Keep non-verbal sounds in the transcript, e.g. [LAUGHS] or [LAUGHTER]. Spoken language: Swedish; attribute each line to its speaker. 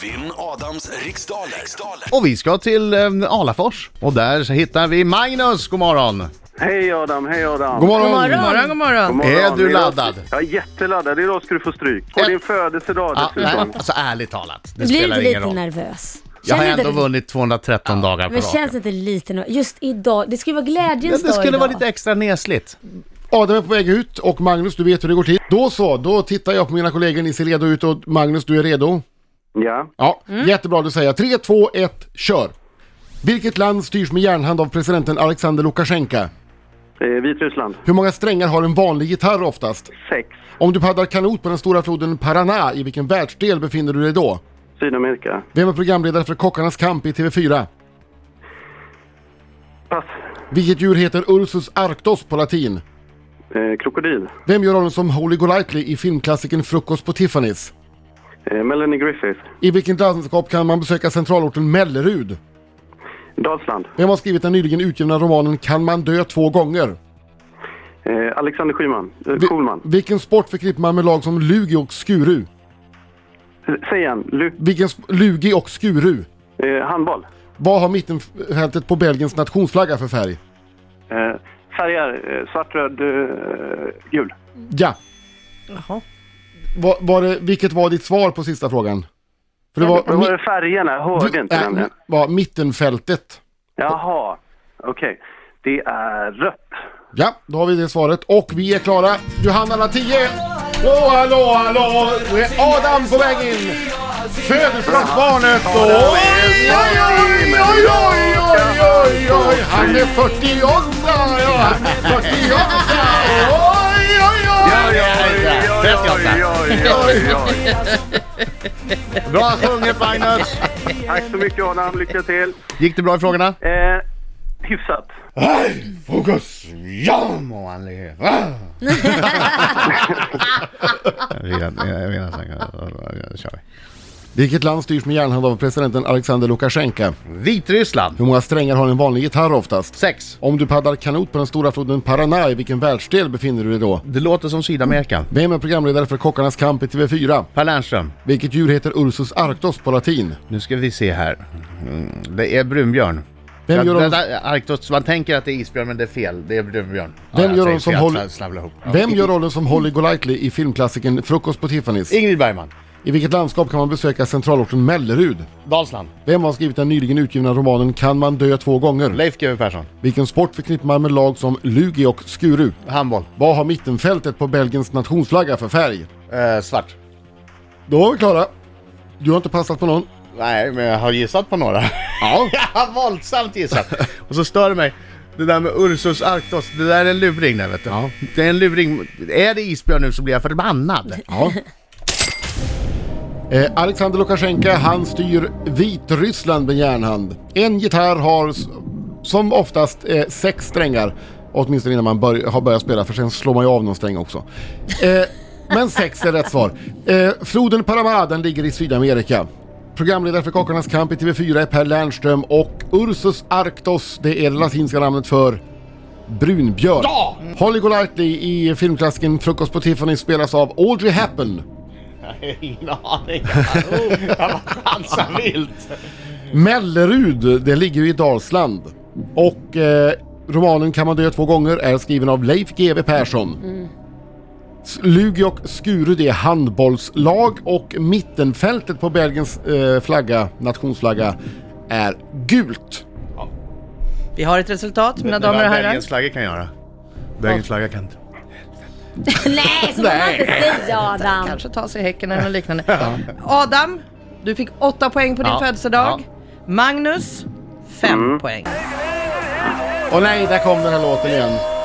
Speaker 1: Vinn Adams riksdaler. riksdaler.
Speaker 2: Och vi ska till eh, Alafors. Och där så hittar vi Magnus. God morgon!
Speaker 3: Hej Adam, hej Adam.
Speaker 2: God morgon!
Speaker 4: God morgon. God morgon, god morgon.
Speaker 3: God morgon.
Speaker 2: Är du
Speaker 3: Idag-
Speaker 2: laddad?
Speaker 3: Jag är jätteladdad. Idag ska du få stryk. På
Speaker 2: Ett-
Speaker 3: din födelsedag
Speaker 2: Ja, nej,
Speaker 3: dessutom.
Speaker 2: alltså ärligt talat, det
Speaker 4: Du blir
Speaker 2: spelar
Speaker 4: inte
Speaker 2: ingen
Speaker 4: lite
Speaker 2: roll.
Speaker 4: nervös?
Speaker 2: Jag har
Speaker 4: Känner du
Speaker 2: ändå
Speaker 4: inte-
Speaker 2: vunnit 213 dagar på
Speaker 4: Men känns
Speaker 2: raken.
Speaker 4: inte lite nervös? Just idag, det skulle vara
Speaker 2: Ja,
Speaker 4: glädjens
Speaker 2: det skulle
Speaker 4: dag
Speaker 2: vara
Speaker 4: idag.
Speaker 2: lite extra nesligt.
Speaker 5: Adam är på väg ut och Magnus, du vet hur det går till. Då så, då tittar jag på mina kollegor, ni ser redo ut och Magnus, du är redo?
Speaker 3: Ja.
Speaker 5: Ja, jättebra du säger. 3, 2, 1, kör! Vilket land styrs med järnhand av presidenten Alexander Lukasjenko?
Speaker 3: Eh, Vitryssland.
Speaker 5: Hur många strängar har en vanlig gitarr oftast?
Speaker 3: Sex.
Speaker 5: Om du paddlar kanot på den stora floden Paraná, i vilken världsdel befinner du dig då?
Speaker 3: Sydamerika.
Speaker 5: Vem är programledare för Kockarnas kamp i TV4?
Speaker 3: Pass.
Speaker 5: Vilket djur heter Ursus arctos på latin?
Speaker 3: Eh, krokodil.
Speaker 5: Vem gör rollen som Holy Golightly i filmklassikern Frukost på Tiffany's?
Speaker 3: Eh, Melanie Griffith.
Speaker 5: I vilket landskap kan man besöka centralorten Mellerud?
Speaker 3: Dalsland.
Speaker 5: Vem har skrivit den nyligen utgivna romanen Kan man dö två gånger?
Speaker 3: Eh, Alexander Skyman. Eh,
Speaker 5: Vi-
Speaker 3: Schulman.
Speaker 5: Vilken sport förknippar man med lag som Lugi och Skuru?
Speaker 3: Eh, Säg igen. Lu-
Speaker 5: Vilken sp- Lugi och Skuru?
Speaker 3: eh, handboll.
Speaker 5: Vad har mittenfältet på Belgiens nationsflagga för färg?
Speaker 3: Eh, färger. Eh, svart, röd, eh, gul.
Speaker 5: Ja. Var, var det, vilket var ditt svar på sista frågan? För det
Speaker 3: Vad var
Speaker 5: mi-
Speaker 3: det färgerna? Jag hörde inte
Speaker 5: äh,
Speaker 3: nämligen.
Speaker 5: var mittenfältet.
Speaker 3: Jaha. Okej. Det är rött.
Speaker 5: Ja, då har vi det svaret och vi är klara. Johanna la 10. Hallå, hallå, hallå! Nu är Adam på väg in. Födelsedagsbarnet och... Oj, oj, oj, oj, oj, oj, oj, oj! Han är 48, ja, han är 48! Oj, oj, oj!
Speaker 2: Bra sjunget Magnus!
Speaker 3: Tack så mycket Adam. Lycka till.
Speaker 2: Gick det bra i frågorna?
Speaker 3: Eh, hyfsat.
Speaker 2: Fokus! Ja, må han leva!
Speaker 5: Ah.
Speaker 4: [LAUGHS]
Speaker 5: Vilket land styrs med järnhand av presidenten Alexander Lukasjenko?
Speaker 2: Vitryssland,
Speaker 5: Hur många strängar har en vanlig gitarr oftast?
Speaker 2: sex.
Speaker 5: Om du paddlar kanot på den stora floden Paraná, i vilken världsdel befinner du dig då?
Speaker 2: Det låter som Sydamerika.
Speaker 5: Vem är programledare för Kockarnas kamp i TV4?
Speaker 2: Per Lernström,
Speaker 5: Vilket djur heter Ursus arctos på latin?
Speaker 2: nu ska vi se här. Mm, Det är brunbjörn.
Speaker 5: Vem
Speaker 2: Ja,
Speaker 5: gör
Speaker 2: det
Speaker 5: de-
Speaker 2: där, Arktos, man tänker att det är isbjörn men det är fel, det är brunbjörn.
Speaker 5: Vem gör de som håller-
Speaker 2: håller...
Speaker 5: Vem gör rollen som Holly Golightly i filmklassikern Frukost på Tiffany's?
Speaker 2: Ingrid Bergman,
Speaker 5: I vilket landskap kan man besöka centralorten Mellerud?
Speaker 2: Dalsland,
Speaker 5: Vem har skrivit den nyligen utgivna romanen Kan man dö två gånger?
Speaker 2: Leif GW Persson,
Speaker 5: Vilken sport förknippar man med lag som Lugi och Skuru?
Speaker 2: handboll,
Speaker 5: Vad har mittenfältet på Belgiens nationsflagga för färg?
Speaker 2: eh, svart.
Speaker 5: Då var vi klara. Du har inte passat på någon?
Speaker 2: Nej, men jag har gissat på några.
Speaker 5: Ja.
Speaker 2: [LAUGHS] Jag har våldsamt gissat.
Speaker 5: [LAUGHS]
Speaker 2: Och så stör det mig. Det där med Ursus Arctos, det där är en luring där vet du. Det är en luring. Är det isbjörn nu så blir jag förbannad. [LAUGHS]
Speaker 5: Ja. [LAUGHS] Eh, Alexander Lukasjenko, han styr Vitryssland med järnhand. En gitarr har s- som oftast eh, sex strängar. Åtminstone innan man bör, har börjat spela, för sen slår man ju av någon sträng också. Eh, men sex är rätt svar. Eh, floden Paraná, den ligger i Sydamerika. Programledare för Kockarnas kamp i TV4 är Per Lernström och Ursus Arctos, det är det latinska namnet för brunbjörn. Ja! Holly Golightly i filmklassikern Frukost på Tiffany spelas av Audrey Hepburn.
Speaker 2: Ingen aning. Oh, jag bara chansar vilt.
Speaker 5: Mellerud, det ligger ju i Dalsland. Och eh, romanen Kan man dö två gånger är skriven av Leif GW Persson. S- Lugi och Skuru det är handbollslag och mittenfältet på Belgiens eh, flagga, nationsflagga, är gult.
Speaker 4: Vi har ett resultat, mina
Speaker 2: Det
Speaker 4: damer och
Speaker 2: var
Speaker 4: herrar.
Speaker 2: Belgiens flagga kan göra. Belgiens flagga kan inte.
Speaker 4: Nej, så får man
Speaker 2: [LAUGHS]
Speaker 4: inte säga Adam.
Speaker 6: Kanske ta sig i häcken eller något liknande. Adam, du fick åtta poäng på din
Speaker 2: Ja. Mm.
Speaker 6: födelsedag. Magnus, fem poäng.
Speaker 5: Och nej, där kom den här låten igen.